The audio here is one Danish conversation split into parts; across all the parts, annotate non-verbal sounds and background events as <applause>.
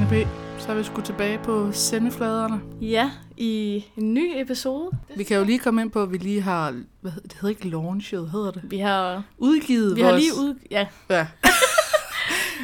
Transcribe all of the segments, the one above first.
Så er vi sgu tilbage på sendefladerne. Ja, i en ny episode. Vi kan jo lige komme ind på, at vi lige har... Hvad hedder det? hedder ikke launchet, hedder det? Vi har, Udgivet vi har vores... lige ud... Ja, Ja. <laughs>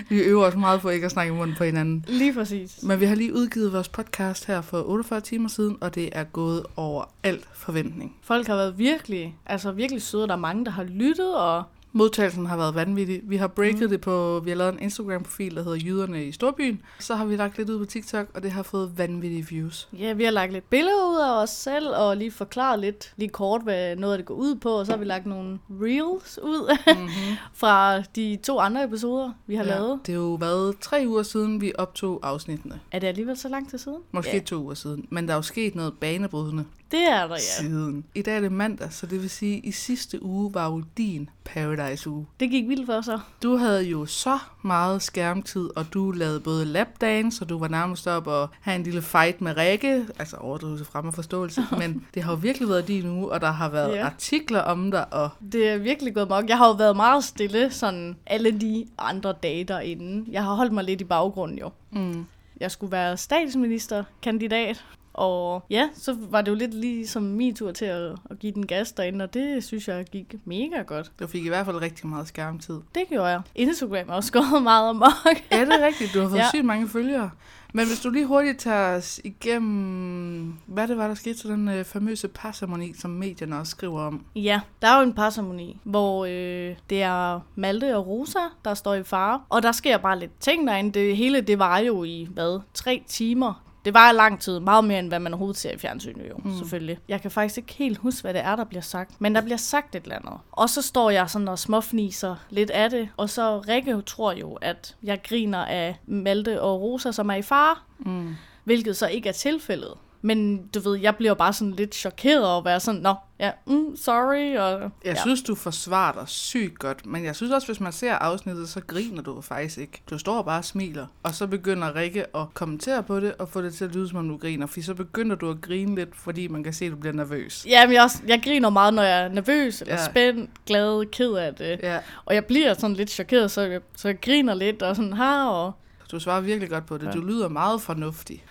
vi øver os meget for ikke at snakke i munden på hinanden. lige præcis. Men vi har lige udgivet vores podcast her for 48 timer siden, og det er gået over alt forventning. Folk har været virkelig, altså virkelig søde. Der er mange, der har lyttet, og Modtagelsen har været vanvittig. Vi har breaket mm. det på, vi har lavet en Instagram-profil, der hedder Jyderne i Storbyen. Så har vi lagt lidt ud på TikTok, og det har fået vanvittige <laughs> views. ja, vi har lagt lidt billeder ud af os selv, og lige forklaret lidt, lige kort, hvad noget af det går ud på, og så har vi lagt nogle reels ud <laughs> Mm-hmm. fra de to andre episoder, vi har ja. lavet. Det er jo været tre uger siden, vi optog afsnittene. Er det alligevel så lang tid siden? Måske ja. to uger siden. Men der er jo sket noget banebrydende Det er der, ja. ja. siden. I dag er det mandag, så det vil sige, at i sidste uge var jo din Paradise-uge. Det gik vildt for så. Du havde jo så meget skærmtid, og du lavede både lapdance, og du var nærmest op og have en lille fight med Rikke. Altså overdrivelse frem og <laughs> forståelse. Men det har jo virkelig været din uge, og der har været Ja. ja. artikler om dig. Og Det er virkelig gået mok. Jeg har jo været meget stille sådan alle de andre dage derinde. Jeg har holdt mig lidt i baggrunden jo. mm, Jeg skulle være statsministerkandidat, og ja, så var det jo lidt ligesom min tur til at, at give den gas derinde, og det synes jeg gik mega godt. du fik i hvert fald rigtig meget skærmtid. Det gjorde jeg. Instagram er også <laughs> gået meget amok. Ja, det er rigtigt. Du har fået Ja. ja. sygt mange følgere. Men hvis du lige hurtigt tager os igennem, hvad det var, der skete til den øh, famøse parsermoni, som medierne også skriver om. Ja, der er jo en parsermoni, hvor øh, det er Malte og Rosa, der står i fare. Og der sker bare lidt ting derinde. Det hele, det var jo i, hvad, tre timer. Det var lang tid, meget mere end hvad man overhovedet ser i fjernsynet jo, mm. selvfølgelig. Jeg kan faktisk ikke helt huske, hvad det er, der bliver sagt, men der bliver sagt et eller andet. Og så står jeg sådan og småfniser lidt af det, og så Rikke tror jo, at jeg griner af Malte og Rosa, som er i fare, Mm. hvilket så ikke er tilfældet. Men du ved, jeg bliver jo bare sådan lidt chokeret over at være sådan, nå, ja, mm, sorry, og... Jeg ja. ja. synes, du forsvarer dig sygt godt, men jeg synes også, hvis man ser afsnittet, så griner du faktisk ikke. Du står bare og smiler, og så begynder Rikke at kommentere på det, og få det til at lyde, som om du griner, for så begynder du at grine lidt, fordi man kan se, at du bliver nervøs. Ja, men jeg, er også, jeg griner meget, når jeg er nervøs, eller ja. Ja. spændt, glad, ked af det. Ja. Ja, Og jeg bliver sådan lidt chokeret, så jeg, så jeg griner lidt, og sådan, ha, og... du svarer virkelig godt på det. Ja. Ja. Du lyder meget <laughs> fornuftig.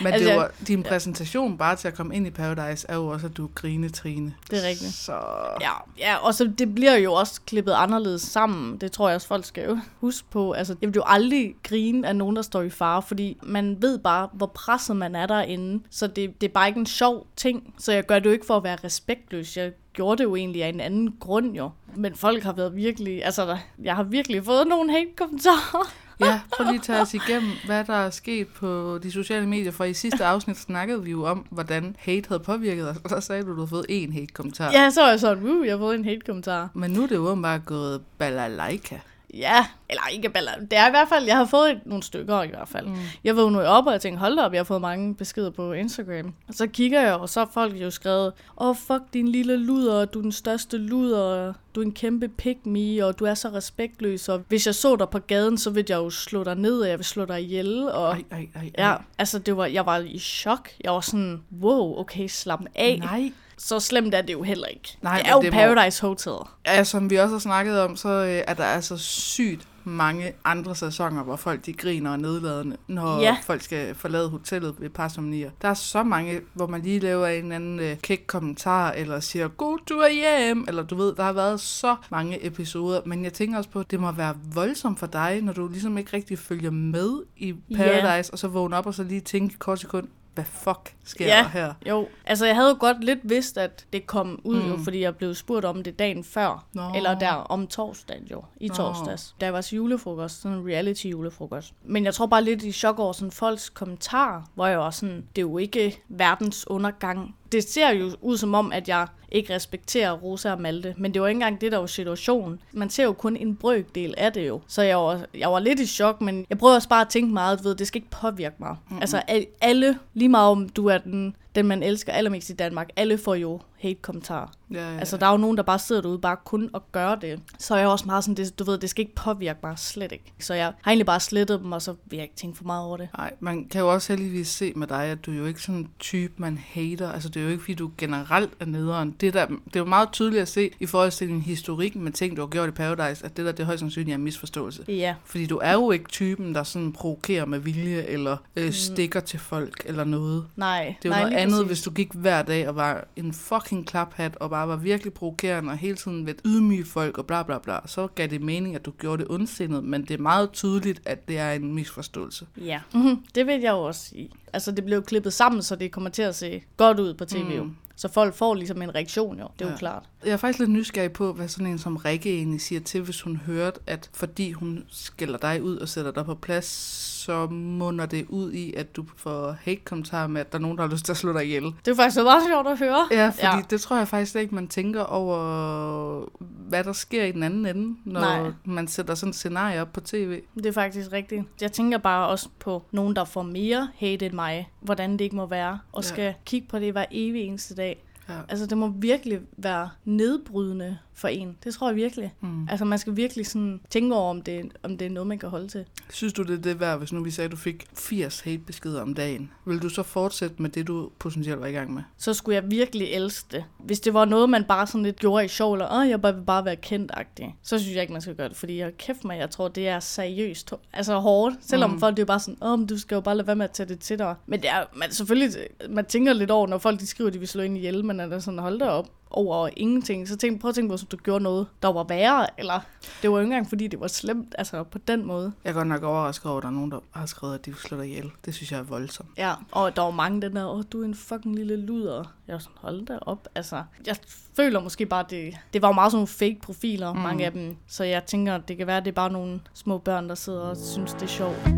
Men Altså, det jeg- var, din præsentation bare til at komme ind i Paradise er jo også, at du er grinetrine. Det er rigtigt. Så Ja, ja, og så det bliver jo også klippet anderledes sammen. Det tror jeg også, folk skal jo huske på. Altså, jeg vil jo aldrig grine af nogen, der står i fare, fordi man ved bare, hvor presset man er derinde. Så det, det er bare ikke en sjov ting. Så jeg gør det jo ikke for at være respektløs. Jeg gjorde det jo egentlig af en anden grund jo. Men folk har været virkelig... Altså, der- jeg har virkelig fået nogle hate-kommentarer. ja, prøv lige at tage os igennem, hvad der er sket på de sociale medier, for i sidste afsnit snakkede vi jo om, hvordan hate havde påvirket os, og der sagde du, at du havde fået én hate-kommentar. Ja, så var jeg sådan, uh, jeg har fået en hate-kommentar. Men nu er det jo åbenbart gået balalaika. Ja, eller ikke baller. Det er i hvert fald, jeg har fået et- nogle stykker i hvert fald. Mm. Jeg vågnede op, og jeg tænkte, hold da op, jeg har fået mange beskeder på Instagram. Og så kigger jeg, og så har folk jo skrevet, åh oh, fuck din lille luder, du er den største luder, og du er en kæmpe pick me, og du er så respektløs, og hvis jeg så dig på gaden, så ville jeg jo slå dig ned, og jeg vil slå dig ihjel, og... Ej, ej, ej, ej. Ja, altså det var, jeg var i chok. Jeg var sådan, wow, okay, slap af. Nej. Nej. Så slemt er det jo heller ikke. Nej, det men er jo det må- Paradise Hotel. Ja, som vi også har snakket om, så øh, er der altså sygt mange andre sæsoner, hvor folk de griner og nedladende, når Ja. ja. folk skal forlade hotellet ved parsomnier. Der er så mange, hvor man lige laver en eller anden øh, kæk kommentar, eller siger, god tur hjem, eller du ved, der har været så mange episoder. Men jeg tænker også på, at det må være voldsomt for dig, når du ligesom ikke rigtig følger med i Ja. Paradise, og så vågner op og så lige tænker et kort sekund, hvad fuck sker Ja. der her? Jo, altså jeg havde jo godt lidt vidst, at det kom ud mm. jo, Mm. fordi jeg blev spurgt om det dagen før. Nå. Eller der om torsdagen jo, i Nå. torsdags. Der var julefrokost, sådan en reality julefrokost. Men jeg tror bare lidt i chok over sådan folks kommentarer, hvor jeg var sådan, det er jo ikke verdens undergang. Det ser jo ud som om, at jeg ikke respekterer Rosa og Malte, men det var ikke engang det, der var situationen. Man ser jo kun en brøkdel af det jo. Så jeg var, jeg var lidt i chok, men jeg prøver også bare at tænke meget, du ved, det skal ikke påvirke mig. Mm-hmm. Altså al- alle, lige meget om du er den, den man elsker allermest i Danmark, alle får jo hate-kommentarer. Ja, ja. Altså, der er jo nogen, der bare sidder derude bare kun og gør det. Så er jeg også meget sådan, det, du ved, det skal ikke påvirke mig slet ikke. Så jeg har egentlig bare slettet dem, og så vil jeg ikke tænke for meget over det. Nej, man kan jo også heldigvis se med dig, at du er jo ikke sådan en type, man hater. Altså, det er jo ikke, fordi du generelt er nederen. Det, der, det er jo meget tydeligt at se i forhold til din historik med ting, du har gjort i Paradise, at det der, det er højst sandsynligt er en misforståelse. Ja, Fordi du er jo ikke typen, der sådan provokerer med vilje, eller øh, stikker til folk, eller noget. nej. Det er jo Mm. nej, noget lige andet, præcis. hvis du gik hver dag og var en fucking klaphat, og bare var virkelig provokerende, og hele tiden ved ydmyge folk, og bla bla bla. Så gav det mening, at du gjorde det ondsindet, men det er meget tydeligt, at det er en misforståelse. Ja, mm-hmm. det vil jeg jo også sige. Altså, det blev jo klippet sammen, så det kommer til at se godt ud på tv jo. Så folk får ligesom en reaktion jo, det er jo Mm. Ja. klart. Jeg er faktisk lidt nysgerrig på, hvad sådan en som Rikke egentlig siger til, hvis hun hørte, at fordi hun skælder dig ud og sætter dig på plads, så munder det ud i, at du får hate-kommentarer med, at der er nogen, der har lyst til at slå dig ihjel. Det er faktisk meget sjovt at høre. Ja, fordi ja. det tror jeg faktisk slet ikke, man tænker over, hvad der sker i den anden ende, når Nej. Nej. man sætter sådan et scenarie op på tv. Det er faktisk rigtigt. Jeg tænker bare også på nogen, der får mere hate end mig, hvordan det ikke må være, og Ja. skal kigge på det hver evig eneste dag. Ja. Altså, det må virkelig være nedbrydende for en. Det tror jeg virkelig. Mm. Altså, man skal virkelig sådan tænke over, om det, om det er noget, man kan holde til. Synes du, det er det værd, hvis nu vi sagde, at du fik 80 hate-beskeder om dagen? Vil du så fortsætte med det, du potentielt var i gang med? Så skulle jeg virkelig elske det. Hvis det var noget, man bare sådan lidt gjorde i sjov, eller Åh, jeg bare vil bare være kendt så synes jeg ikke, man skal gøre det. Fordi jeg kæft mig, jeg tror, det er seriøst. hå- Altså hårdt. Selvom mm. folk det er bare sådan, åh, men du skal jo bare lade være med at tage det til dig. Men det er, man, selvfølgelig, man tænker lidt over, når folk de skriver, de vil slå ind ihjel, men er der sådan, hold da op over ingenting. Så tænk, prøv at tænke på, om du gjorde noget, der var værre, eller det var jo ikke engang, fordi det var slemt, altså på den måde. Jeg er godt nok overrasket over, at der er nogen, der har skrevet, at de vil slå dig ihjel. Det synes jeg er voldsomt. Ja, og der var mange den der, åh, du er en fucking lille luder. Jeg var sådan, hold da op, altså. Jeg føler måske bare, det, det var jo meget sådan nogle fake profiler, mm. mange af dem. Så jeg tænker, det kan være, det er bare nogle små børn, der sidder og synes, det er sjovt.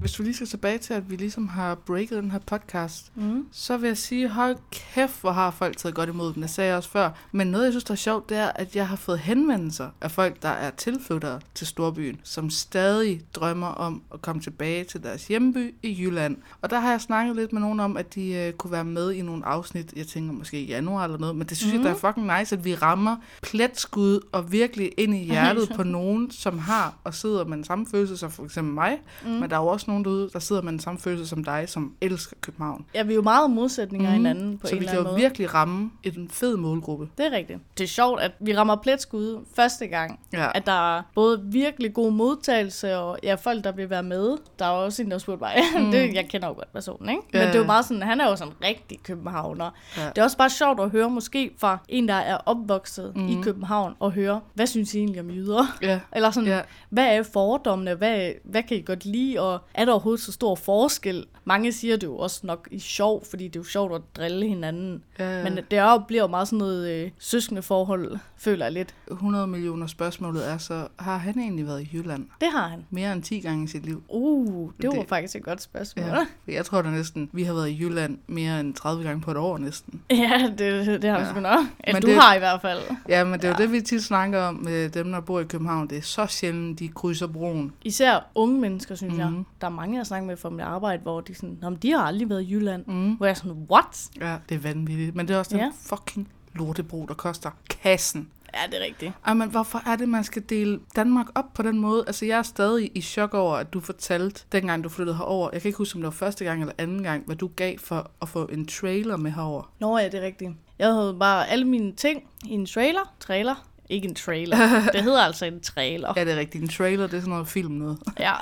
Hvis du lige skal tilbage til, at vi ligesom har breaket den her podcast, mm. så vil jeg sige, hold kæft, hvor har folk taget godt imod den. Det sagde jeg også før. Men noget, jeg synes, der er sjovt, det er, at jeg har fået henvendelser af folk, der er tilflyttere til storbyen, som stadig drømmer om at komme tilbage til deres hjemby i Jylland. Og der har jeg snakket lidt med nogen om, at de øh, kunne være med i nogle afsnit, jeg tænker måske i januar eller noget, men det synes mm. jeg, der er fucking nice, at vi rammer pletskud og virkelig ind i hjertet på nogen, som har og sidder med den samme følelse som for eksempel mig, mm. men der er jo også nogen derude, der sidder med den samme følelse som dig, som elsker København. Ja, vi er jo meget modsætninger af hinanden Mm. på så en vi eller kan anden jo måde. virkelig ramme en fed målgruppe. Det er rigtigt. Det er sjovt, at vi rammer pletskud første gang. Ja. At der er både virkelig god modtagelse, og ja, folk, der vil være med. Der er jo også en, der spurgte mig. <laughs> Mm. det, jeg kender jo godt personen, ikke? Men Ja. det er jo meget sådan, han er jo sådan en rigtig københavner. Ja. Det er også bare sjovt at høre måske fra en, der er opvokset mm. i København, og høre, hvad synes I egentlig om jyder? <laughs> Ja. Eller sådan, Ja. hvad er fordommene? Hvad, hvad kan I godt lide? Og er der overhovedet så stor forskel? Mange siger det jo også nok i sjov, fordi det er jo sjovt at drille hinanden. Ja, ja. Men det er jo, bliver jo meget sådan noget øh, søskende forhold, føler jeg lidt. 100 millioner spørgsmålet er så, har han egentlig været i Jylland Det har han. mere end 10 gange i sit liv? Uh, det, var Det- faktisk et godt spørgsmål. Ja. Ja, Jeg tror da næsten, vi har været i Jylland mere end 30 gange på et år næsten. <laughs> ja det, det har han Ja. sgu nok. Eller Men du det... det- har i hvert fald. Ja, men det er jo det, vi tit snakker om med dem, der bor i København. Det er så sjældent, de krydser broen. Især unge mennesker, synes mm. jeg. Mhm. Der er mange, jeg snakker med fra mit arbejde, hvor de sådan, Nå, men de har aldrig været i Jylland. Mm. Hvor jeg er sådan, what? Ja, det er vanvittigt. Men det er også den Ja. ja. fucking lortebro, der koster kassen. Ja, det er rigtigt. Ej, men hvorfor er det, man skal dele Danmark op på den måde? Altså, jeg er stadig i chok over, at du fortalte, dengang du flyttede herover. Jeg kan ikke huske, om det var første gang eller anden gang, hvad du gav for at få en trailer med herover. Nå ja, det er rigtigt. Jeg havde bare alle mine ting i en trailer. Trailer? Ikke en <laughs> trailer. det hedder altså en trailer. Ja, det er rigtigt. En trailer, det er sådan noget film noget. Ja,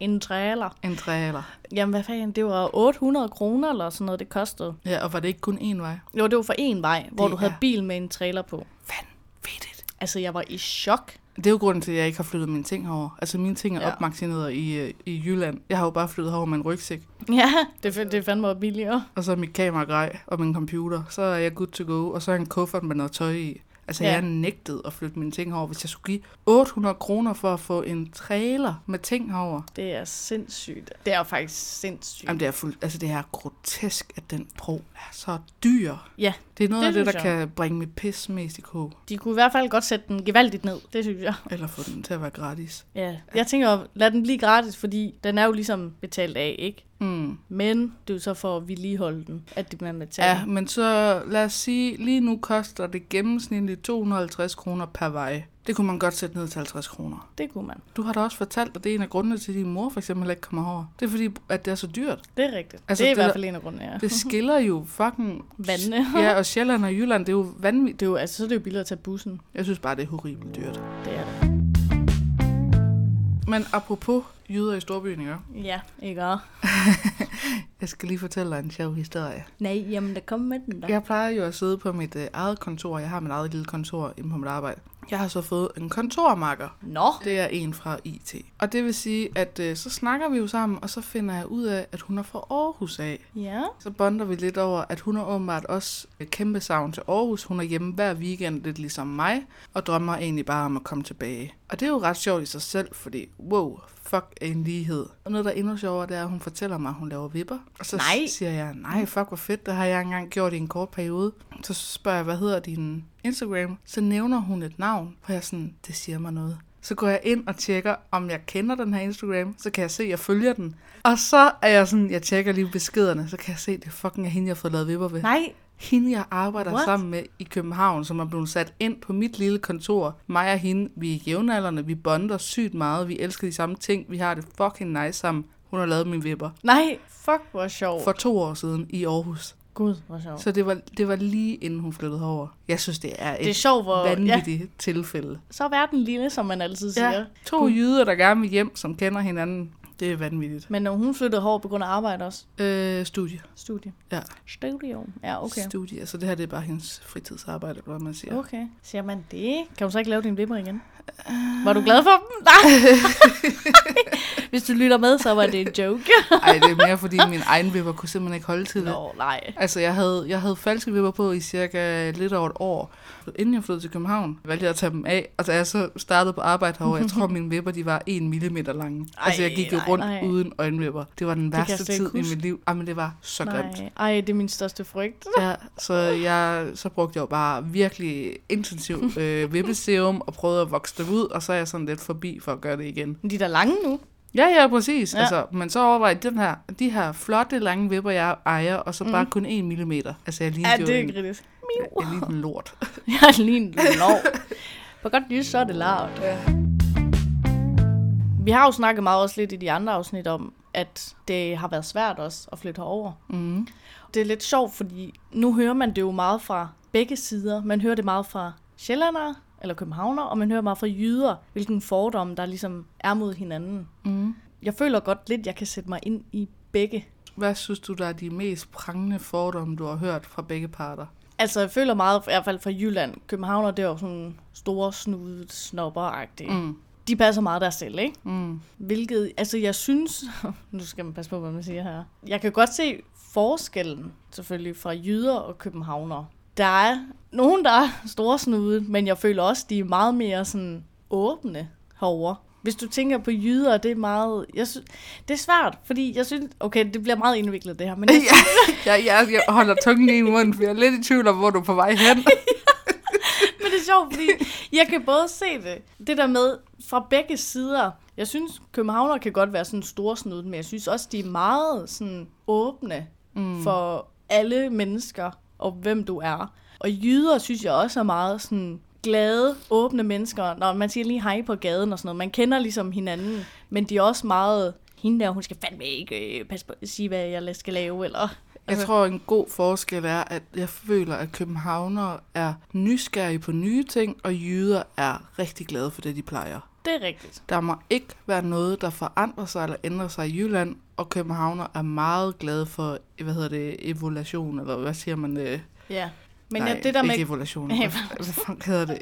en trailer. En trailer. Jamen, hvad fanden, det var 800 kroner eller sådan noget, det kostede. Ja, og var det ikke kun én vej? Jo, det var for en vej, hvor Det du havde er- bil med en trailer på. Vanvittigt. Altså, jeg var i chok. Det er jo grunden til, at jeg ikke har flyttet mine ting herover. Altså, mine ting er Ja. ja. opmagasineret i, øh, i Jylland. Jeg har jo bare flyttet herover med en rygsæk, Ja, <laughs> det, fa- det fandme var billigere. og så mit kameragrej og min computer. Så er jeg good to go, og så er en kuffert med noget tøj i. Altså, Ja. ja. jeg nægtede at flytte mine ting herover, hvis jeg skulle give 800 kroner for at få en trailer med ting herover. Det er sindssygt. Det er faktisk sindssygt. Jamen, det er, fuld, altså, det er grotesk, at den pro er så dyr. Ja, Det er noget Det det af det, der synes jeg. kan bringe mit pis mest i kog, de kunne i hvert fald godt sætte den gevaldigt ned, det synes jeg. eller få den til at være gratis. Ja. Jeg tænker, lad den blive gratis, fordi den er jo ligesom betalt af, ikke? Mm. Men det er jo så for at vedligeholde den, at det man vil tage. Ja, men så lad os sige, lige nu koster det gennemsnitligt 250 kroner per vej. Det kunne man godt sætte ned til 50 kroner. Det kunne man. Du har da også fortalt, at det er en af grundene til, at din mor for eksempel heller ikke kommer over. Det er fordi, at det er så dyrt. Det er rigtigt. Altså, Altså, det er i det der- hvert fald en af grundene, ja. Det skiller jo fucking... Vandene. Ja, og Sjælland og Jylland, det er jo vanvittigt. Det er jo, altså, så er det jo billigere at tage bussen. Jeg synes bare, det er horribelt dyrt. Det er det. Men apropos jyder i storbyen, ikke? Ja, ikke også? Jeg skal lige fortælle dig en sjov historie. Nej, jamen der kom med den der. Jeg plejer jo at sidde på mit øh, eget kontor. Jeg har mit eget lille kontor inde på mit arbejde. Jeg har så fået en kontormakker. Nå, Det er en fra IT. Og det vil sige, at øh, så snakker vi jo sammen, og så finder jeg ud af, at hun er fra Aarhus af. ja. Så bonder vi lidt over, at hun er åbenbart også et kæmpe savn til Aarhus. Hun er hjemme hver weekend, lidt ligesom mig, og drømmer egentlig bare om at komme tilbage. Og det er jo ret sjovt i sig selv, fordi wow, fuck en lighed. Og noget, der er endnu sjovere, det er, at hun fortæller mig, at hun laver vipper. Og så Nej. siger jeg, nej, fuck, hvor fedt, det har jeg engang gjort i en kort periode. Så spørger jeg, hvad hedder din Instagram? Så nævner hun et navn, og jeg er sådan, det siger mig noget. Så går jeg ind og tjekker, om jeg kender den her Instagram, så kan jeg se, at jeg følger den. Og så er jeg sådan, jeg tjekker lige beskederne, så kan jeg se, at det fucking er hende, jeg har fået lavet vipper ved. Nej, Hende, jeg arbejder What? What? sammen med i København, som er blevet sat ind på mit lille kontor. Mig og hende, vi er jævnaldrende, vi bonder sygt meget, vi elsker de samme ting, vi har det fucking nice sammen. Hun har lavet mine vipper nej. Fuck, hvor sjovt. for to år siden i Aarhus. Gud, hvor sjovt. Så det var, det var lige inden hun flyttede over. Jeg synes, det er et Det er sjovt, hvor... Ja, vanvittigt tilfælde. så er verden lille, som man altid siger. Ja, Ja. to jyder, der gerne vil hjem, som kender hinanden. Det er vanvittigt. Men når hun flyttede hårdt på grund af arbejde også. Øh, studie. Studie. Ja. Studio. Ja, okay. Studie. Så det her det er bare hendes fritidsarbejde, eller hvad man siger. Øh. Okay. Siger man det? Kan du så ikke lave din vipper igen? Var du glad for dem? <laughs> Nej. Hvis du lytter med, så var det en <laughs> joke. Ej, det er mere fordi min egen vipper kunne simpelthen ikke holde til det. Nå, nej. Altså, jeg havde, jeg havde falske vipper på i cirka lidt over et år. Inden jeg flyttede til København, valgte jeg at tage dem af. Og da jeg så startede på arbejde herovre, <laughs> jeg tror, mine vipper de var 1 mm lange. Ej, altså, jeg gik jo nej, rundt nej. uden øjenvipper. Det var den kan jeg værste slet ikke tid i huske. mit liv. Jamen, det var så grimt. Nej. Ej, det er min største frygt. Ja, så, jeg, så brugte jeg jo bare virkelig intensivt øh, vippeserum og prøvede at vokse det ud, og så er jeg sådan lidt forbi for at gøre det igen. Men de er da lange nu. Ja, ja, præcis. Ja. Ja. Altså, men så overvejede den her, de her flotte lange vipper, jeg ejer, og så bare kun 1 mm. Altså, jeg lignede Ja, jo det er en, ikke rigtigt. jeg lignede en lort. <laughs> Jeg er lige en lov. På godt lys, så er det lavt. Ja. Vi har jo snakket meget også lidt i de andre afsnit om, at det har været svært også at flytte herover. Mm. Det er lidt sjovt, fordi nu hører man det jo meget fra begge sider. Man hører det meget fra sjællandere eller københavner, og man hører meget fra jyder, hvilken fordom der ligesom er mod hinanden. Mm. Jeg føler godt lidt, jeg kan sætte mig ind i begge. Hvad synes du, der er de mest prangende fordomme, du har hørt fra begge parter? Altså, jeg føler meget, i hvert fald fra Jylland, københavner, det er jo sådan store snudet snopper mm. Mm. De passer meget der selv, ikke? Mm. Hvilket, altså jeg synes, <laughs> nu skal man passe på, hvad man siger her. Jeg kan godt se forskellen, selvfølgelig, fra jyder og københavnere. Der er nogen, der er <laughs> storsnude, men jeg føler også, de er meget mere sådan åbne herover. Hvis du tænker på jyder, det er meget... Jeg synes, det er svært, fordi jeg synes... Okay, det bliver meget indviklet, det her, men jeg, <laughs> Ja, jeg, jeg, jeg holder tungen i munden, for jeg er lidt i tvivl om, hvor du er på vej hen. Men det er sjovt, fordi jeg kan både se det, det der med fra begge sider. Jeg synes, københavner kan godt være sådan storsnudet, men jeg synes også, de er meget sådan åbne mm. for alle mennesker og hvem du er. Og jyder synes jeg også er meget sådan glade, åbne mennesker, når man siger lige hej på gaden og sådan noget. Man kender ligesom hinanden, men de er også meget, hende der, hun skal fandme ikke øh, passe på at sige, hvad jeg skal lave, eller... Jeg Altså- tror, en god forskel er, at jeg føler, at københavnere er nysgerrige på nye ting, og jyder er rigtig glade for det, de plejer. Det er rigtigt. Der må ikke være noget, der forandrer sig eller ændrer sig i Jylland, og københavner er meget glade for, hvad hedder det, evolution, eller hvad siger man? Øh, Ja. Men nej, jeg, det der med ikke evolution. <laughs> Ja, Hvad, hvad fanden hedder det?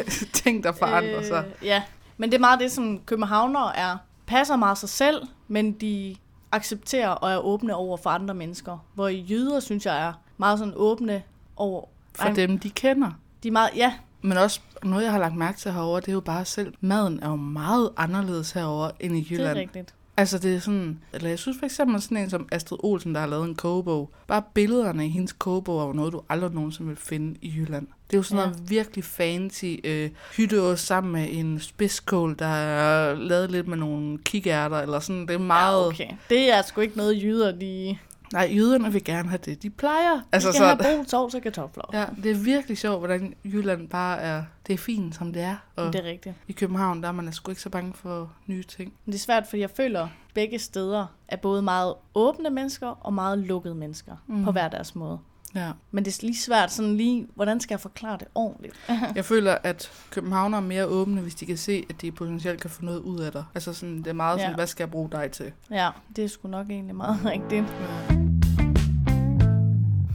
<laughs> ting, der forandrer øh... sig. Øh, ja, men det er meget det, som københavnere er. Passer meget sig selv, men de accepterer og er åbne over for andre mennesker. Hvor i jyder, synes jeg, er meget sådan åbne over... For Ej, dem, de kender. De er meget, ja, Men også noget, jeg har lagt mærke til herover, det er jo bare selv, maden er jo meget anderledes herover end i det er Jylland. rigtigt. Altså det er sådan, eller jeg synes for eksempel sådan en som Astrid Olsen, der har lavet en kogebog. Bare billederne i hendes kogebog er jo noget, du aldrig nogensinde vil finde i Jylland. Det er jo sådan Ja. ja. noget virkelig fancy øh, hytteås sammen med en spidskål, der er lavet lidt med nogle kikærter, eller sådan. Det er meget... Ja, okay. Det er sgu ikke noget, jyder de... Nej, jyderne vil gerne have det, de plejer. Altså, Altså, de så, kan så... have brun sovs og kartofler. Ja. ja, det er virkelig sjovt, hvordan Jylland bare er... Det er fint, som det er. Og Det er rigtigt. i København, der er man altså sgu ikke så bange for nye ting. Men det er svært, fordi jeg føler, at begge steder er både meget åbne mennesker og meget lukkede mennesker mm. Mm. på hver deres måde. Ja. Men det er lige svært sådan lige, hvordan skal jeg forklare det ordentligt? Jeg føler, at københavnere er mere åbne, hvis de kan se, at de potentielt kan få noget ud af dig. Altså sådan, det er meget sådan, Ja. ja. hvad skal jeg bruge dig til? Ja, det er sgu nok egentlig meget <laughs> rigtigt.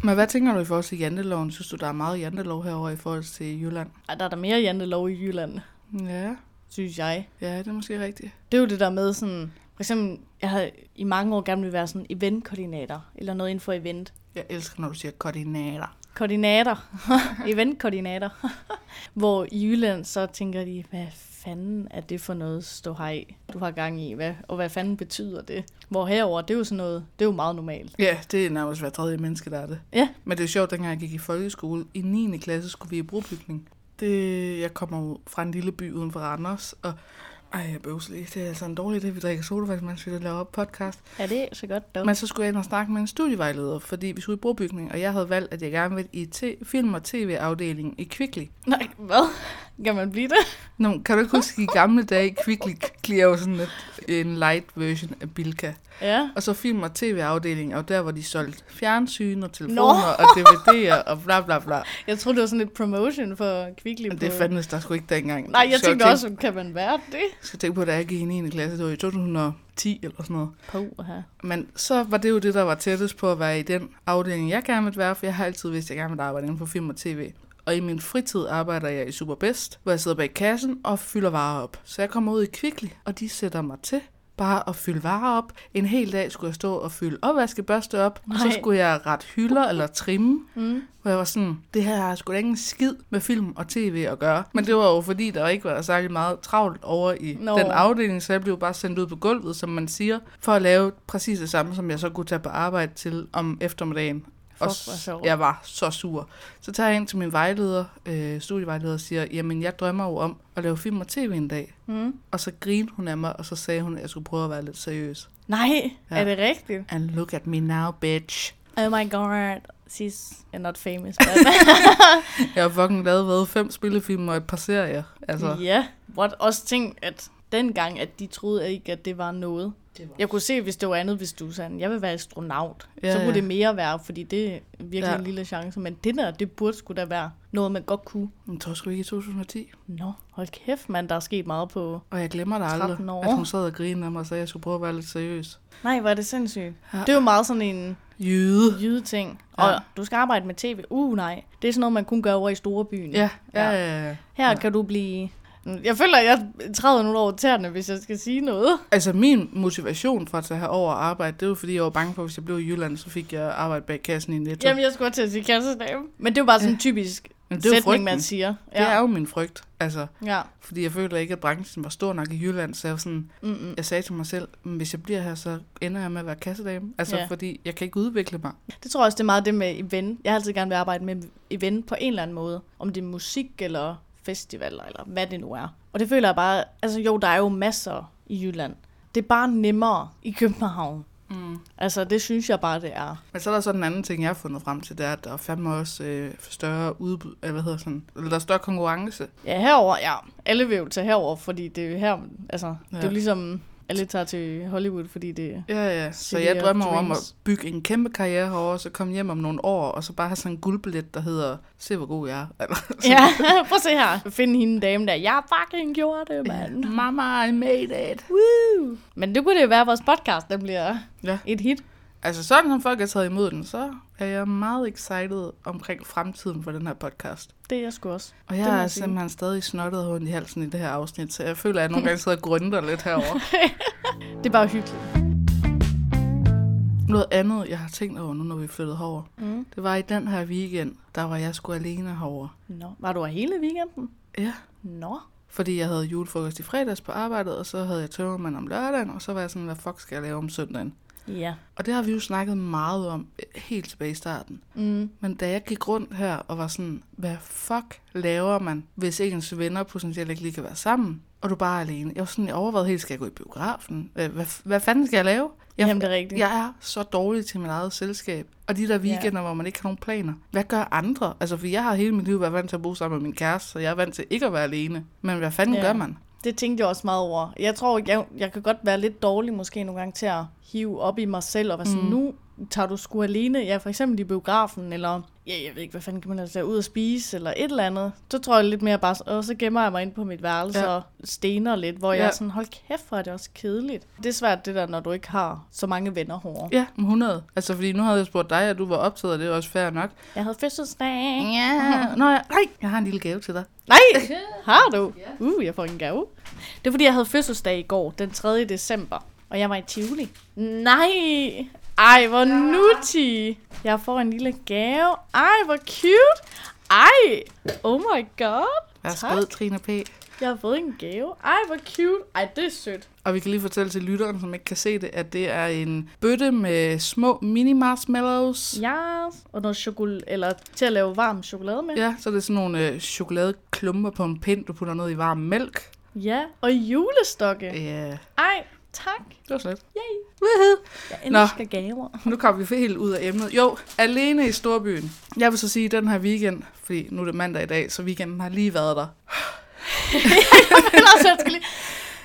Men hvad tænker du i forhold til janteloven? Synes du, der er meget jantelov herover i forhold til Jylland? Ej, der er der mere jantelov i Jylland, Ja, synes jeg. ja det er måske rigtigt. Det er jo det der med sådan, for eksempel, jeg havde i mange år gerne ville være sådan eventkoordinator, eller noget inden for event. Jeg elsker, når du siger koordinater. <laughs> koordinater, eventkoordinater, <laughs> hvor i Jylland så tænker de, hvad fanden er det for noget ståhej, du har gang i, hvad, og hvad fanden betyder det? Hvor herover det er jo sådan noget, det er jo meget normalt. Ja, det er nærmest hver tredje menneske, der er det. Ja, Men det er sjovt, dengang jeg gik i folkeskole, i 9. klasse skulle vi i brobygning. Det, jeg kommer jo fra en lille by uden for Randers, og ej, jeg er bøvselig. Det er altså en dårlig idé, vi drikker sodavand, mens vi laver podcast. er det så godt dog? Men så skulle jeg ind og snakke med en studievejleder, fordi vi skulle i brobygning, og jeg havde valgt, at jeg gerne ville i t- film- og tv-afdelingen i Kvickly. <laughs> Nej, hvad? Kan man blive det? Nå, men kan du ikke huske, i gamle dage, Kvickly er jo sådan lidt en light version af Bilka. Ja. Og så film- og tv-afdelingen, og der, hvor de solgte fjernsyn og telefoner Nå. og DVD'er og bla bla bla. Jeg troede, det var sådan lidt promotion for Kvickly. Men det på- fandtes der sgu ikke dengang. Nej, jeg Skal jo tænkte tænke- også, kan man være det? Skal tænke på, da jeg gik i 9. klasse, det var i 2010 eller sådan noget. På her. Men så var det jo det, der var tættest på at være i den afdeling, jeg gerne ville være, for jeg har altid vidst, at jeg gerne ville arbejde inden for film og tv. Og i min fritid arbejder jeg i Superbest, hvor jeg sidder bag kassen og fylder varer op. Så jeg kommer ud i Kvickly, og de sætter mig til bare at fylde varer op. En hel dag skulle jeg stå og fylde opvaskebørste op, og så Nej. skulle jeg ret hylder eller trimme. Mm. Hvor jeg var sådan, det her har sgu da ikke en skid med film og tv at gøre. Men det var jo fordi, der ikke var særlig meget travlt over i Nå. no. den afdeling, så jeg blev bare sendt ud på gulvet, som man siger, for at lave præcis det samme, som jeg så kunne tage på arbejde til om eftermiddagen. hvor og s- sjovt. jeg var så sur. Så tager jeg ind til min vejleder, øh, studievejleder, og siger, jamen jeg drømmer jo om at lave film og tv en dag. Mm. Og så grinede hun af mig, og så sagde hun, at jeg skulle prøve at være lidt seriøs. Nej, Ja. er det rigtigt? And look at me now, bitch. Oh my god, she's not famous. <laughs> But... Jeg har fucking lavet hvad, fem spillefilm og et par serier. Altså. <laughs> Ja, what? også ting, at dengang, at de troede ikke, at det var noget. Det var- Jeg kunne se, hvis det var andet, hvis du sagde, jeg vil være astronaut. Ja, Ja, så kunne ja. det mere være, fordi det er virkelig ja. Ja. en lille chance. Men det der, det burde skulle da være noget, man godt kunne. Jeg tror sgu ikke i 2010. Nå, hold kæft, mand, der er sket meget på... Og jeg glemmer det 13 aldrig, år. at hun sad og grinede af mig og sagde, at jeg skulle prøve at være lidt seriøs. Nej, hvor er det sindssygt. Ja. Ja. Det er jo meget sådan en Jyde. jydeting. Ja. Ja. Og du skal arbejde med tv. Uh, nej. Det er sådan noget, man kun gør over i store byen. Ja, ja, ja. ja. Her kan du blive... Jeg føler, at jeg træder nogle over tæerne, hvis jeg skal sige noget. Altså min motivation for at tage herover og arbejde, det var fordi, jeg var bange for, at hvis jeg blev i Jylland, så fik jeg arbejde bag kassen i Netto. Jamen, jeg skulle til at sige kassedame. Men det er jo bare sådan en typisk Jamen, det det er jo sætning, frygten. man frygten. siger. Ja. Det er jo min frygt. Altså, ja. fordi jeg følte ikke, at branchen var stor nok i Jylland, så jeg, var sådan, Mm-mm. jeg sagde til mig selv, "Men hvis jeg bliver her, så ender jeg med at være kassedame. Altså, Ja. fordi jeg kan ikke udvikle mig. Det tror jeg også, det er meget det med event. Jeg har altid gerne vil arbejde med event på en eller anden måde. Om det er musik eller festivaler, eller hvad det nu er. Og det føler jeg bare, altså jo, der er jo masser i Jylland. Det er bare nemmere i København. Mm. Altså, det synes jeg bare, det er. Men så er der så den anden ting, jeg har fundet frem til, det er, at der er fandme også øh, større udbud, eller hvad hedder sådan, eller der er større konkurrence. Ja, herover, ja. Alle vil jo tage herover, fordi det er jo her, altså, ja. det er jo Ja. ligesom, alle tager til Hollywood, fordi det Ja, ja. Så City of jeg drømmer jo om Dreams. at bygge en kæmpe karriere herovre, så komme hjem om nogle år, og så bare have sådan en guldbillet, der hedder, se hvor god jeg er. <laughs> Altså, Ja, <laughs> prøv at se her. Find hende dame der. Jeg fucking gjorde det, mand. Mama, I made it. Woo! Men det kunne det jo være, at vores podcast den bliver Ja. et hit. Altså sådan som folk har taget imod den, så er jeg meget excited omkring fremtiden for den her podcast. Det er jeg sgu også. Og Det må jeg er jeg sige. simpelthen stadig snottet og ondt i halsen i det her afsnit, så jeg føler, at jeg nogle gange sidder og grønter lidt herover. Det er bare hyggeligt. Noget andet, jeg har tænkt over nu, når vi flyttede herover, Mm. det var i den her weekend, der var jeg sgu alene herover. Nå, var du her hele weekenden? Ja, Nå. Fordi jeg havde julefrokost i fredags på arbejdet, og så havde jeg tømmermand om lørdagen, og så var jeg sådan, hvad fuck skal jeg lave om søndagen? Ja. Og det har vi jo snakket meget om øh, helt tilbage i starten. Mm. Men da jeg gik rundt her og var sådan, hvad fuck laver man, hvis ens venner potentielt ikke lige kan være sammen, og du bare er alene? Jeg var sådan, jeg overvejede helt, skal jeg gå i biografen? Øh, Hvad, hvad fanden skal jeg lave? Jeg, Jamen, det er rigtigt. jeg er så dårlig til mit eget selskab. Og de der weekender, hvor man ikke har nogen planer. Hvad gør andre? Altså, for jeg har hele mit liv været vant til at bo sammen med min kæreste, så jeg er vant til ikke at være alene. Men hvad fanden Ja. gør man? Det tænkte jeg også meget over. Jeg tror, jeg, jeg kan godt være lidt dårlig måske nogle gange til at hive op i mig selv og være sådan, mm. nu tager du sgu alene. Ja, for eksempel i biografen, eller ja, jeg ved ikke, hvad fanden kan man altså ud og spise, eller et eller andet. Så tror jeg lidt mere bare, og så gemmer jeg mig ind på mit værelse Ja. ja. og stener lidt, hvor ja. Ja. jeg er sådan, hold kæft, hvor er det også kedeligt. Det er svært det der, når du ikke har så mange venner hårdere. Ja, 100. Altså, fordi nu havde jeg spurgt dig, og du var optaget, og det er også fair nok. Jeg havde fødselsdag. Ja. Nå, jeg, nej, jeg har en lille gave til dig. <laughs> Nej, har du? Uh, jeg får en gave. Det er fordi, jeg havde fødselsdag i går, den 3. december, og jeg var i Tivoli. Nej, ej, hvor nutti. Jeg får en lille gave. Ej, hvor cute. Ej, oh my god. Værsgo, Trine P. Jeg har fået en gave. Ej, hvor cute. Ej, det er sødt. Og vi kan lige fortælle til lytteren, som ikke kan se det, at det er en bøtte med små mini marshmallows. Yes. Og noget chokolade, eller til at lave varm chokolade med. Ja, så er det sådan nogle øh, chokoladeklumper på en pind, du putter ned i varm mælk. Ja, og julestokke. Ja, Ej, tak. det var slet. Yay. Woohoo. Jeg Nå. elsker gaver. <laughs> Nu kom vi helt ud af emnet. Jo, alene i storbyen. Jeg vil så sige, at den her weekend, fordi nu er det mandag i dag, så weekenden har lige været der. Ellers jeg skal lige...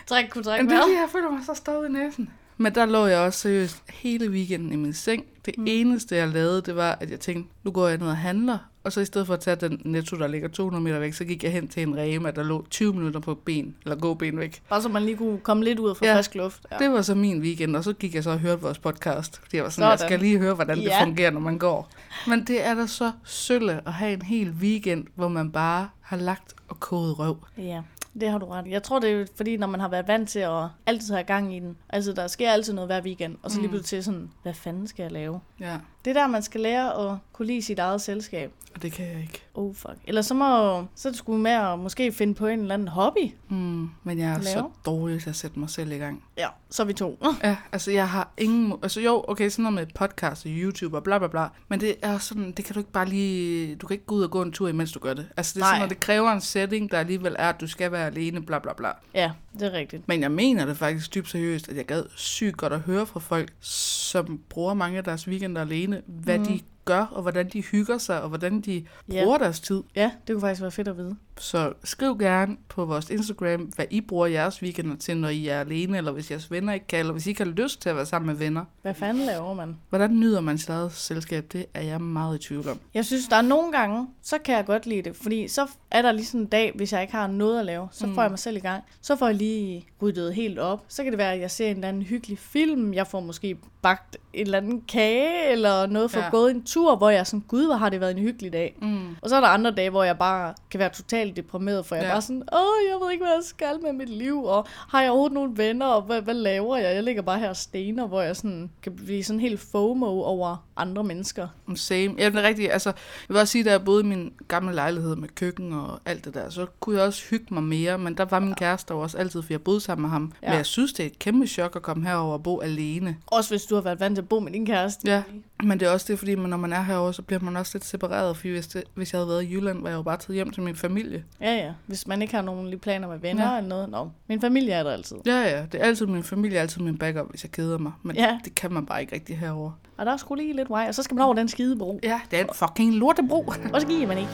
Træk, kunne trække Men det er vejret. fordi, jeg føler mig så stået i næsen. Men der lå jeg også seriøst hele weekenden i min seng. Det mm. eneste, jeg lavede, det var, at jeg tænkte, nu går jeg ned og handler. Og så i stedet for at tage den netto, der ligger 200 meter væk, så gik jeg hen til en Rema, der lå 20 minutter på ben, eller gå ben væk. Bare så man lige kunne komme lidt ud og få Ja. ja. frisk luft. Ja. Ja. Det var så min weekend, og så gik jeg så og hørte vores podcast. Fordi jeg var sådan, sådan. jeg Sådan. skal lige høre, hvordan det Ja. fungerer, når man går. Men det er da så sølle at have en hel weekend, hvor man bare har lagt og kodet røv. ja, det har du ret. i. Jeg tror, det er fordi, når man har været vant til at altid have gang i den. Altså, der sker altid noget hver weekend. Og så Mm. lige pludselig til sådan, hvad fanden skal jeg lave? Ja, Det er der, man skal lære at kunne lide sit eget selskab. og det kan jeg ikke. Oh fuck. Eller så må så er det sgu med at måske finde på en eller anden hobby. Mm, men jeg er så Lave. dårlig til at sætte mig selv i gang. Ja, så er vi to. Ja, altså jeg har ingen... mo- Altså jo, okay, sådan noget med podcast og YouTube og bla bla bla, men det er sådan, det kan du ikke bare lige... Du kan ikke gå ud og gå en tur, imens du gør det. Altså det er Nej. Nej. sådan noget, det kræver en setting, der alligevel er, at du skal være alene, bla bla bla. Ja, det er rigtigt. Men jeg mener det faktisk dybt seriøst, at jeg gad sygt godt at høre fra folk, som bruger mange af deres weekender alene, hvad mm. de gør, og hvordan de hygger sig, og hvordan de Mhm. Ja. bruger deres tid. Ja, det kunne faktisk være fedt at vide. Så skriv gerne på vores Instagram, hvad I bruger jeres weekender til, når I er alene, eller hvis jeres venner ikke kan, eller hvis I ikke har lyst til at være sammen med venner. Hvad fanden laver man? Hvordan nyder man sit eget selskab? Det er jeg meget i tvivl om. Jeg synes, der er nogle gange, så kan jeg godt lide det. Fordi så er der lige sådan en dag, hvis jeg ikke har noget at lave, så mm. får jeg mig selv i gang. Så får jeg lige ryddet helt op. Så kan det være, at jeg ser en eller anden hyggelig film. Jeg får måske bagt en eller anden kage, eller noget for Ja. ja. gået en tur, hvor jeg er sådan, gud, hvor har det været en hyggelig dag. Mm. Og så er der andre dage, hvor jeg bare kan være totalt deprimeret, for jeg ja. Ja. er bare sådan, åh, jeg ved ikke, hvad jeg skal med mit liv, og har jeg overhovedet nogle venner, og hvad, hvad laver jeg? Jeg ligger bare her og stener, hvor jeg sådan kan blive sådan helt FOMO over andre mennesker. Mm, Same. Ja, det er rigtigt. Altså, jeg vil også sige, da jeg boede i min gamle lejlighed med køkken og alt det der, så kunne jeg også hygge mig mere, men der var min kæreste jo også altid, for jeg boede sammen med ham. Ja. Ja. Men jeg synes, det er et kæmpe chok at komme herover og bo alene. Også hvis du har været vant til at bo med din kæreste. Ja, men det er også det, fordi man, når man er herovre, så bliver man også lidt separeret, for hvis, det, hvis jeg havde været i Jylland, var jeg jo bare taget hjem til min familie. Ja, ja. Hvis man ikke har nogen lige planer med venner Ja. ja. eller noget. Nå, min familie er der altid. Ja, ja, det er altid min familie, altid min backup, hvis jeg keder mig, men ja. Ja. det kan man bare ikke rigtig herover. Og der er sgu lige lidt vej, og så skal man over den skide bro. Ja, det er en fucking lortebro. Og så giver man ikke.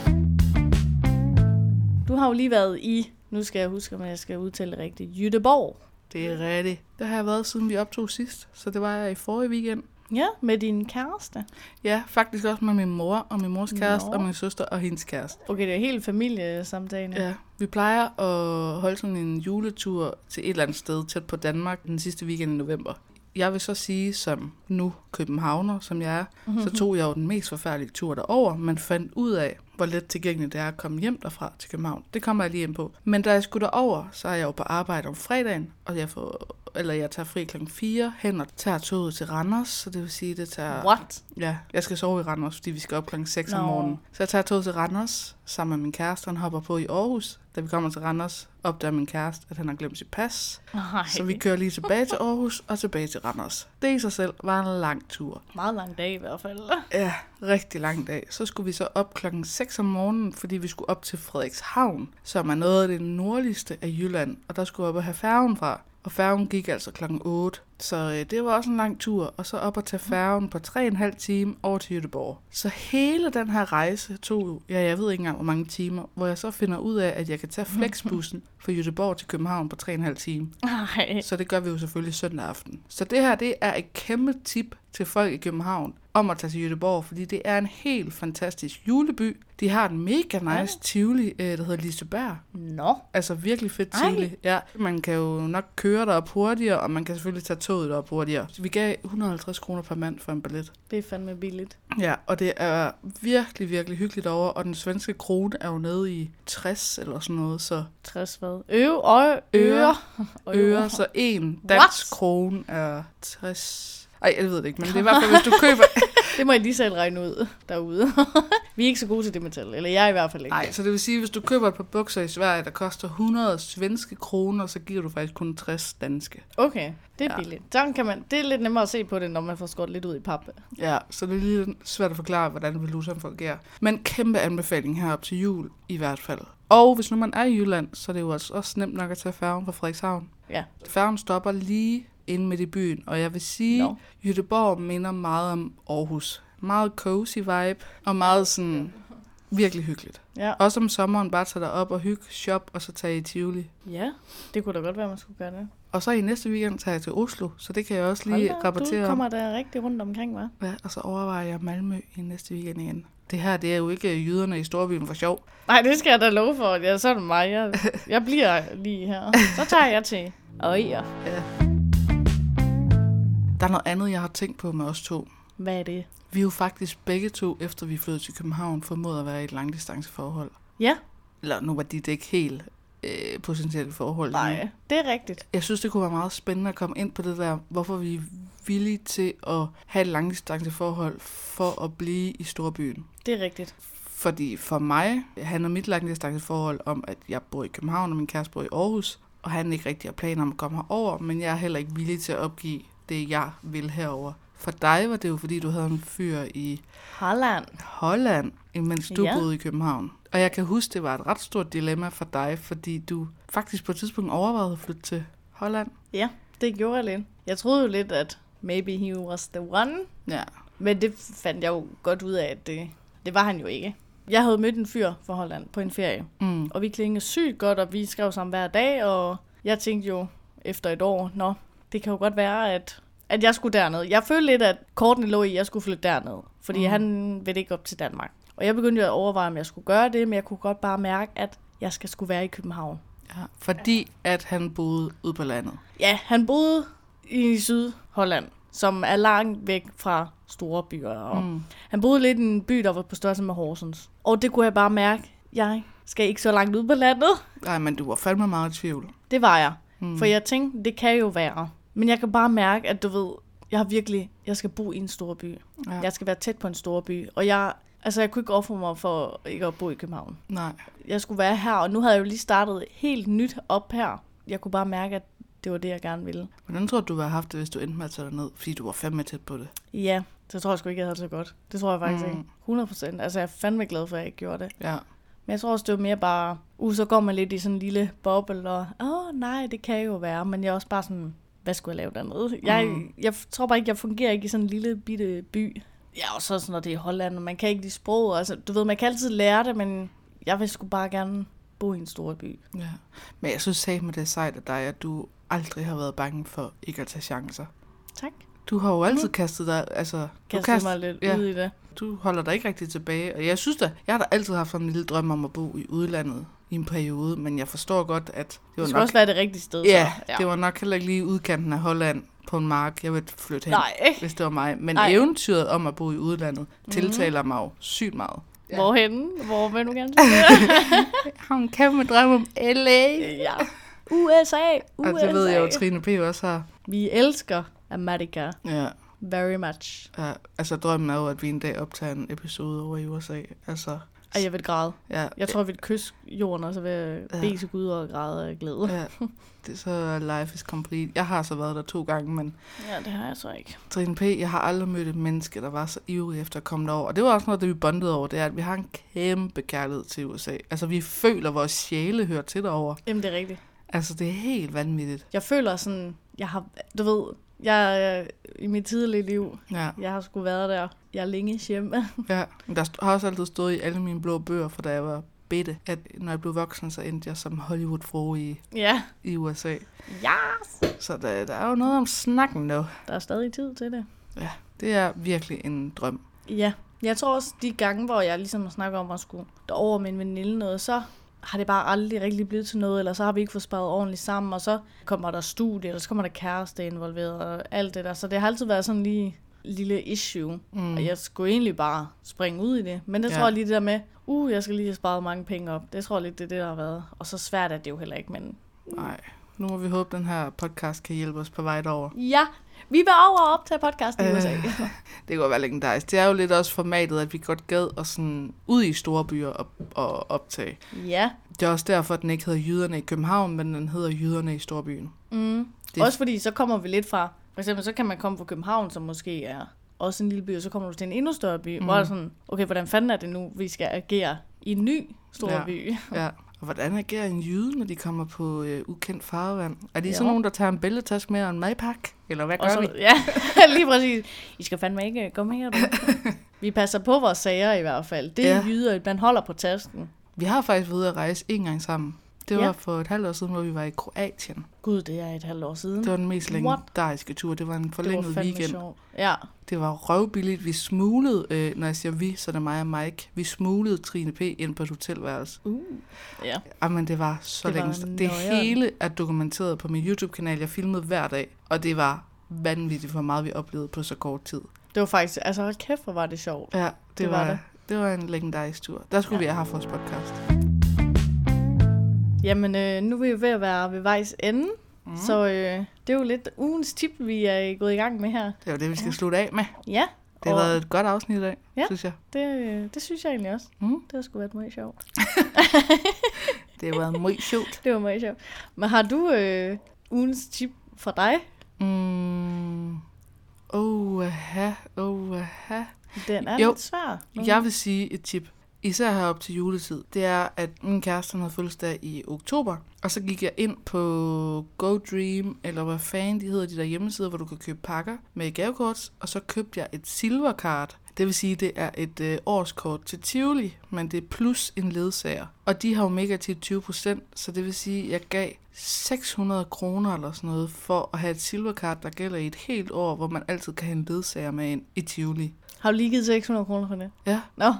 Du har jo lige været i, nu skal jeg huske, om jeg skal udtale det rigtigt, Jytteborg. Det er rigtigt. Det har jeg været, siden vi optog sidst, så det var jeg i forrige weekend. Ja, med din kæreste. Ja, faktisk også med min mor og min mors kæreste Nå. og min søster og hendes kæreste. Okay, det er hele familiesamtalen. Ja, vi plejer at holde sådan en juletur til et eller andet sted tæt på Danmark den sidste weekend i november. Jeg vil så sige, som nu københavner, som jeg er, så tog jeg jo den mest forfærdelige tur derover, men fandt ud af, hvor let tilgængeligt det er at komme hjem derfra til København. Det kommer jeg lige ind på. Men da jeg skulle derover, så er jeg jo på arbejde om fredagen, og jeg, får, eller jeg tager fri kl. 4 hen og tager toget til Randers, så det vil sige, det tager... What? Ja, jeg skal sove i Randers, fordi vi skal op klokken 6 om Nå. morgenen. Så jeg tager toget til Randers, sammen med min kæreste. Han hopper på i Aarhus. Da vi kommer til Randers, opdager min kæreste, at han har glemt sit pas. Nej, Så vi kører lige tilbage til Aarhus og tilbage til Randers. Det i sig selv var en lang tur. meget lang dag i hvert fald. Ja, rigtig lang dag. Så skulle vi så op klokken 6 om morgenen, fordi vi skulle op til Frederikshavn, som er noget af det nordligste af Jylland, og der skulle vi op og have færgen fra. Og færgen gik altså klokken 8, så øh, det var også en lang tur. Og så op og tage færgen på 3,5 time over til Göteborg. Så hele den her rejse tog, ja, jeg ved ikke engang hvor mange timer, hvor jeg så finder ud af, at jeg kan tage flexbussen fra Göteborg til København på 3,5 time. Nej. Så det gør vi jo selvfølgelig søndag aften. Så det her, det er et kæmpe tip til folk i København om at tage til Göteborg, fordi det er en helt fantastisk juleby. De har en mega nice Tivoli, øh, der hedder Liseberg. Nå. Altså virkelig fedt Ej. Tivoli. Ja, man kan jo nok køre derop hurtigere, og man kan selvfølgelig tage toget derop hurtigere. Så vi gav 150 kroner per mand for en billet. Det er fandme billigt. Ja, og det er virkelig, virkelig hyggeligt over, og den svenske krone er jo nede i 60 eller sådan noget, så 60 hvad? Øve, øje, øre. Og øre, så en dansk krone er 60... Ej, jeg ved det ikke, men det er i hvert fald, hvis du køber... Det må jeg lige selv regne ud derude. <laughs> vi er ikke så gode til det med tal. Eller jeg er i hvert fald ikke. Nej, så det vil sige, hvis du køber et par bukser i Sverige, der koster 100 svenske kroner, så giver du faktisk kun 60 danske. Okay, det er Ja. billigt. Sådan kan man, det er lidt nemmere at se på det, når man får skåret lidt ud i pap. Ja, så det er lige svært at forklare, hvordan valutaen fungerer. Men kæmpe anbefaling herop til jul, i hvert fald. Og hvis nu man er i Jylland, så er det jo altså også nemt nok at tage færgen fra Frederikshavn. Ja. Færgen stopper lige inde midt i byen, og jeg vil sige, Nå. no. Jødeborg minder meget om Aarhus. Meget cozy vibe, og meget sådan virkelig hyggeligt. Ja. Også om sommeren bare tage dig op og hygge, shop, og så tage i Tivoli. ja, det kunne da godt være, man skulle gøre det. Og så i næste weekend tager jeg til Oslo, så det kan jeg også Hold lige da, rapportere du om. kommer da rigtig rundt omkring, hva'? Ja, og så overvejer jeg Malmø i næste weekend igen. Det her, det er jo ikke jyderne i storbyen for sjov. Nej, det skal jeg da love for. Ja, sådan er det mig. Jeg, jeg bliver lige her. Så tager jeg til. Og ja. Der er noget andet, jeg har tænkt på med os to. Hvad er det? Vi er jo faktisk begge to, efter vi flyttede til København, formået at være i et langdistanceforhold. Ja, Eller nu var dit ikke helt øh, potentielle forhold. nej, det er rigtigt. Jeg synes, det kunne være meget spændende at komme ind på det der, hvorfor vi er villige til at have et langdistanceforhold for at blive i storbyen. Det er rigtigt. Fordi for mig handler mit langdistanceforhold om, at jeg bor i København, og min kæreste bor i Aarhus, og han ikke rigtig har planer om at komme herover, men jeg er heller ikke villig til at opgive det, jeg vil herover. For dig var det jo, fordi du havde en fyr i Holland. Holland, imens du Ja. ja. boede i København. Og jeg kan huske, det var et ret stort dilemma for dig, fordi du faktisk på et tidspunkt overvejede at flytte til Holland. Ja, det gjorde jeg lidt. Jeg troede jo lidt, at maybe he was the one. Ja, Men det fandt jeg jo godt ud af, at det, det var han jo ikke. Jeg havde mødt en fyr fra Holland på en ferie, mm. og vi klingede sygt godt, og vi skrev sammen hver dag, og jeg tænkte jo efter et år, nå, det kan jo godt være, at, at jeg skulle derned. Jeg følte lidt, at kortene lå i, at jeg skulle flytte derned, fordi mm. han ville ikke op til Danmark. Og jeg begyndte jo at overveje, om jeg skulle gøre det, men jeg kunne godt bare mærke, at jeg skal skulle være i København. ja. Fordi at han boede ude på landet. Ja, han boede i Sydholland, som er langt væk fra store byer. Og mm. Han boede lidt i en by, der var på størrelse med Horsens. Og det kunne jeg bare mærke, jeg skal ikke så langt ud på landet. Nej, men du var fandme meget i tvivl. Det var jeg. Mm. For jeg tænkte, det kan jo være. Men jeg kan bare mærke, at du ved, jeg har virkelig, jeg skal bo i en stor by. Ja. Ja. Jeg skal være tæt på en stor by. Og jeg, altså jeg kunne ikke ofre mig for ikke at bo i København. Nej. Jeg skulle være her, og nu havde jeg jo lige startet helt nyt op her. Jeg kunne bare mærke, at det var det, jeg gerne ville. Hvordan tror du, du havde haft det, hvis du endte med at tage dig ned? Fordi du var fandme tæt på det. Ja, det tror jeg sgu ikke, jeg havde det så godt. Det tror jeg faktisk mm. Mm. ikke. 100 procent. Altså, jeg er fandme glad for, at jeg ikke gjorde det. Ja. Men jeg tror også, det var mere bare, uh, så går man lidt i sådan en lille boble, og åh, oh, nej, det kan jo være. Men jeg er også bare sådan, hvad skulle jeg lave dernede? Jeg, mm. jeg tror bare ikke, jeg fungerer ikke i sådan en lille bitte by. Ja, og så sådan, når det er i Holland, og man kan ikke de sprog. Altså, du ved, man kan altid lære det, men jeg vil sgu bare gerne bo i en stor by. ja. Men jeg synes sagt med det er sejt af dig, at du aldrig har været bange for ikke at tage chancer. Tak. Du har jo altid kastet dig, altså... Kan du jeg mig lidt ja. ja, ud i det? Du holder dig ikke rigtig tilbage. Og jeg synes da, jeg har da altid haft sådan en lille drøm om at bo i udlandet i en periode, men jeg forstår godt, at det Det var skal nok... også være det rigtige sted. ja, så. ja, det var nok heller ikke lige udkanten af Holland på en mark, jeg ville flytte hen, Nej, ikke? hvis det var mig. Men Nej. eventyret om at bo i udlandet tiltaler mig jo sygt meget. Ja. Hvorhenne? Hvor vil du gerne tage? Jeg har en kæmpe drøm om LA. ja. USA, USA. Og Altså, det ved jeg jo, Trine P. også har. Vi elsker Amerika Ja, very much. ja, altså drømmen er jo, at vi en dag optager en episode over i USA. Altså, Og jeg vil græde. Ja, Jeg tror, jeg vil kysse jorden, og så vil jeg Ja. bede til Gud og græde af glæde. ja, det, er så er life is complete. Jeg har så været der to gange, men Ja, det har jeg så ikke. Trine P., jeg har aldrig mødt et menneske, der var så ivrig efter at komme derover. Og det var også noget, det vi bondede over, det er, at vi har en kæmpe kærlighed til USA. Altså, vi føler, at vores sjæle hører til derover. Jamen, det er rigtigt. Altså, det er helt vanvittigt. Jeg føler sådan, jeg har, du ved, jeg øh, i mit tidlige liv, Ja, jeg har sgu været der. Jeg længes hjemme. ja. Men Der st- har også altid stået i alle mine blå bøger, fra da jeg var bitte, at når jeg blev voksen, så endte jeg som Hollywood-fro i, ja. i USA. Ja. Så der, der er jo noget om snakken nu. Der er stadig tid til det. Det er virkelig en drøm. Ja. Jeg tror også, de gange, hvor jeg ligesom snakker om at skulle derover med en veninde noget, så har det bare aldrig rigtig blevet til noget, eller så har vi ikke fået sparet ordentligt sammen, og så kommer der studie, eller så kommer der kæreste involveret, og alt det der. Så det har altid været sådan lige lille issue. Mm. Og jeg skulle egentlig bare springe ud i det. Men det Ja. tror jeg lige det der med, uh, jeg skal lige have sparet mange penge op. Det tror jeg lidt, det er det, der har været. Og så svært er det jo heller ikke, men Nej, nu må vi håbe, den her podcast kan hjælpe os på vej derover. ja, vi var over og optage podcast i Øh. <laughs> USA. Det kunne være legendarisk. Det er jo lidt også formatet, at vi godt gad og sådan ud i store byer og, og optage. ja, Det er også derfor, at den ikke hedder Jyderne i København, men den hedder Jyderne i Storbyen. Mm. Det- Det... Også fordi, så kommer vi lidt fra, for eksempel så kan man komme fra København, som måske er også en lille by, og så kommer du til en endnu større by, mm. hvor der er sådan, okay, hvordan fanden er det nu, vi skal agere i en ny stor Ja. ja. by? Ja. Og hvordan agerer en jyde, når de kommer på øh, ukendt farvand? Er de Ja. sådan nogen, der tager en bæltetaske med og en madpakke? Eller hvad gør Og så... vi? så, <laughs> ja, lige præcis. I skal fandme ikke øh, komme her, du. vi passer på vores sager i hvert fald. Det er Ja. ja. jyder, man holder på tasken. Vi har faktisk været ude at rejse en gang sammen. Det var Ja. for et halvt år siden, hvor vi var i Kroatien. Gud, det er et halvt år siden. Det var den mest What? legendariske tur. Det var en Det var forlænget fandme weekend. sjovt. Ja. Det var røvbilligt. Vi smuglede, øh, når jeg siger vi, så er det mig og Mike. Vi smuglede Trine P. ind på et hotelværelse. Uh. Ja. Jamen, det var så Det var længe. siden. det nøjeren. hele er dokumenteret på min YouTube-kanal. Jeg filmede hver dag, og det var vanvittigt, hvor meget vi oplevede på så kort tid. Det var faktisk, altså hold kæft, hvor var det sjovt. Ja, det, Det var, var var det. det. var en legendarisk tur. Der skulle ja. Ja. vi have haft vores podcast. Jamen, øh, nu er vi jo ved at være ved vejs ende, mm. så øh, det er jo lidt ugens tip, vi er gået i gang med her. Det var det, vi skal ja. slutte af med. Ja, Det har og været et godt afsnit i dag, ja. Ja. synes jeg. det, øh, det synes jeg egentlig også. Mm. Det har sgu været meget sjovt. Det har været meget sjovt. Det var meget sjovt. Men har du øh, ugens tip fra dig? Mm. Oh, aha, oh, aha. Den er Jo. jo. lidt svær. Mm. Jeg vil sige et tip, især herop til juletid, det er, at min kæreste han havde fødselsdag i oktober, og så gik jeg ind på GoDream, eller hvad fanden de hedder, de der hjemmesider, hvor du kan købe pakker med gavekort, og så købte jeg et silverkart. Det vil sige, det er et øh, årskort til Tivoli, men det er plus en ledsager. Og de har jo mega til 20 så det vil sige, at jeg gav 600 kroner eller sådan noget, for at have et silverkart, der gælder i et helt år, hvor man altid kan have en ledsager med ind i Tivoli. Har du lige givet 600 kroner for det? Ja, Nå,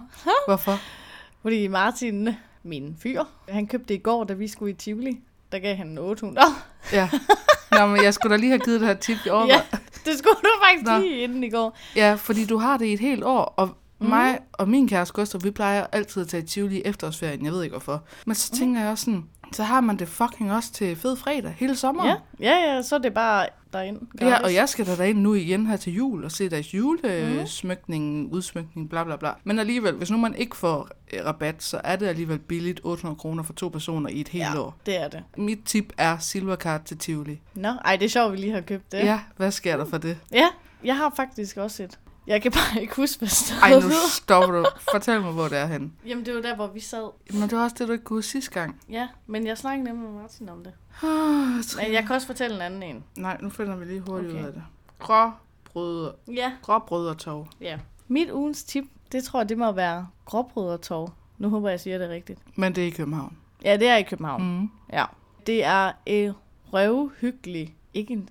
hvorfor? fordi Martin, min fyr, han købte det i går, da vi skulle i Tivoli. Der gav han 800. Ja. Nå, men jeg skulle da lige have givet dig et tip i år. ja, Ja. <laughs> det skulle du faktisk Nå. Nå. lige inden i går. ja, fordi du har det i et helt år, og mm. mig og min kæreste Gustav, vi plejer altid at tage i Tivoli i efterårsferien, jeg ved ikke hvorfor. Men så tænker jeg også sådan, så har man det fucking også til fed fredag hele sommeren. Ja, ja, ja så er det bare derind. Ja, og Gratis. jeg skal da derind nu igen her til jul og se deres julesmykning, mm. udsmykning, bla bla bla. Men alligevel, hvis nu man ikke får øh, rabat, så er det alligevel billigt 800 kroner for to personer i et helt ja. år. det er det. Mit tip er silverkart til Tivoli. Nå, ej, det er sjovt, vi lige har købt det. Ja, ja hvad sker der for det? ja jeg har faktisk også et. Jeg kan bare ikke huske, hvad stedet Ej, nu hedder. stopper du. Fortæl mig, hvor det er henne. Jamen, det var der, hvor vi sad. Men det var også det, du ikke kunne sidste gang. Ja, men jeg snakkede nemlig med Martin om det. Ah, Men jeg kan også fortælle en anden en. Nej, nu finder vi lige hurtigt okay. ud Okay. af det. Gråbrød, Ja. gråbrød og tog. ja. Mit ugens tip, det tror jeg, det må være gråbrød og tov. Nu håber jeg, jeg siger det rigtigt. Men det er i København. Ja, det er i København. Mm. Mm. Ja. Det er et røvhyggeligt. Ikke en,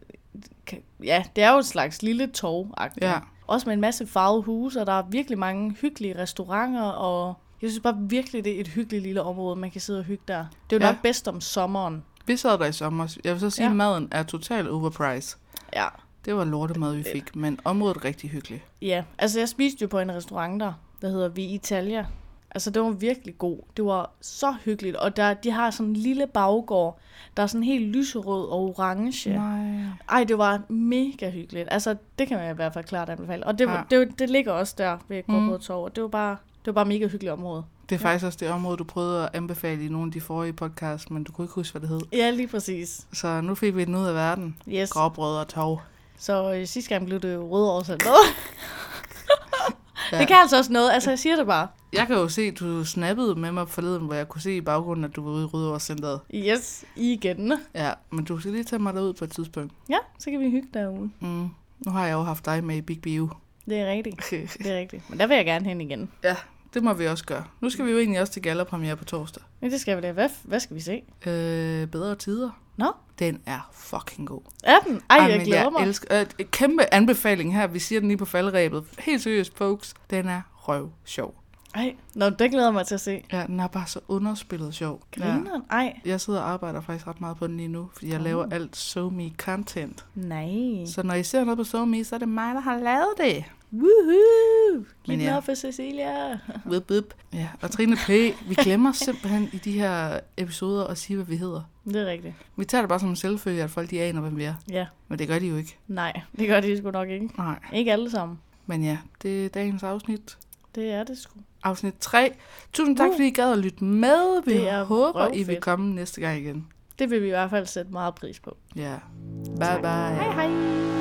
kan- ja, det er jo et slags lille tog Ja. Også med en masse farvede huse, og der er virkelig mange hyggelige restauranter, og jeg synes bare virkelig, det er et hyggeligt lille område, man kan sidde og hygge der. Det er jo Ja. ja. nok bedst om sommeren. Vi sad der i sommer. Jeg vil så sige, at Ja. maden er totalt overpriced. Ja. Det var lortemad, vi fik, men området er rigtig hyggeligt. Ja, altså jeg spiste jo på en restaurant der, der hedder Vi Italia. Altså det var virkelig god. Det var så hyggeligt, og der, de har sådan en lille baggård, der er sådan helt lyserød og orange. Nej. Ej, det var mega hyggeligt. Altså det kan man i hvert fald klart anbefale. Og det, Ja. ja. det, det, det ligger også der ved Gråbrød Torv, og det var bare det var bare mega hyggeligt område. Det er ja. faktisk også det område, du prøvede at anbefale i nogle af de forrige podcasts, men du kunne ikke huske, hvad det hed. Ja, lige præcis. Så nu fik vi den ud af verden. Yes. Gråbrød og tog. Så øh, sidste gang blev det jo Rødovre selv med. Ja. Det kan altså også noget. Altså, jeg siger det bare. Jeg kan jo se, du snappede med mig forleden, hvor jeg kunne se i baggrunden, at du var ude i Rødovre Centeret. Yes, igen. Ja, men du skal lige tage mig derud på et tidspunkt. Ja, så kan vi hygge derude. Mm. Nu har jeg jo haft dig med i Big <laughs> Bio. Det er rigtigt. Det er rigtigt. Men der vil jeg gerne hen igen. ja, det må vi også gøre. Nu skal vi jo egentlig også til gallerpremiere på torsdag. Men det skal vi da. Hvad, hvad skal vi se? Øh, bedre tider. Nå, Den er fucking god. er den? Ej, jeg men glæder mig. jeg elsker, øh, kæmpe anbefaling her. Vi siger den lige på faldrebet. Helt seriøst, folks. Den er røv sjov. Ej, nå, det glæder jeg mig til at se. Ja, den er bare så underspillet sjov. Ja. Grineren? Ej. Jeg sidder og arbejder faktisk ret meget på den lige nu, fordi jeg laver alt SoMe content. Nej. Så når I ser noget på SoMe, så er det mig, der har lavet det. Woohoo! Giv Men den ja. op for Cecilia. <laughs> Whip, whip. Ja, og Trine P., vi glemmer simpelthen i de her episoder at sige, hvad vi hedder. Det er rigtigt. Vi tager det bare som en selvfølge, at folk de aner, hvem vi er. Ja. Men det gør de jo ikke. Nej, det gør de sgu nok ikke. Nej. Ikke alle sammen. Men ja, det er dagens afsnit. Det er det sgu. Afsnit 3. Tusind tak, Uh. fordi I gad at lytte med. Vi Det er håber, I vil røvfedt. komme næste gang igen. Det vil vi i hvert fald sætte meget pris på. Ja. Bye bye. Hej hej!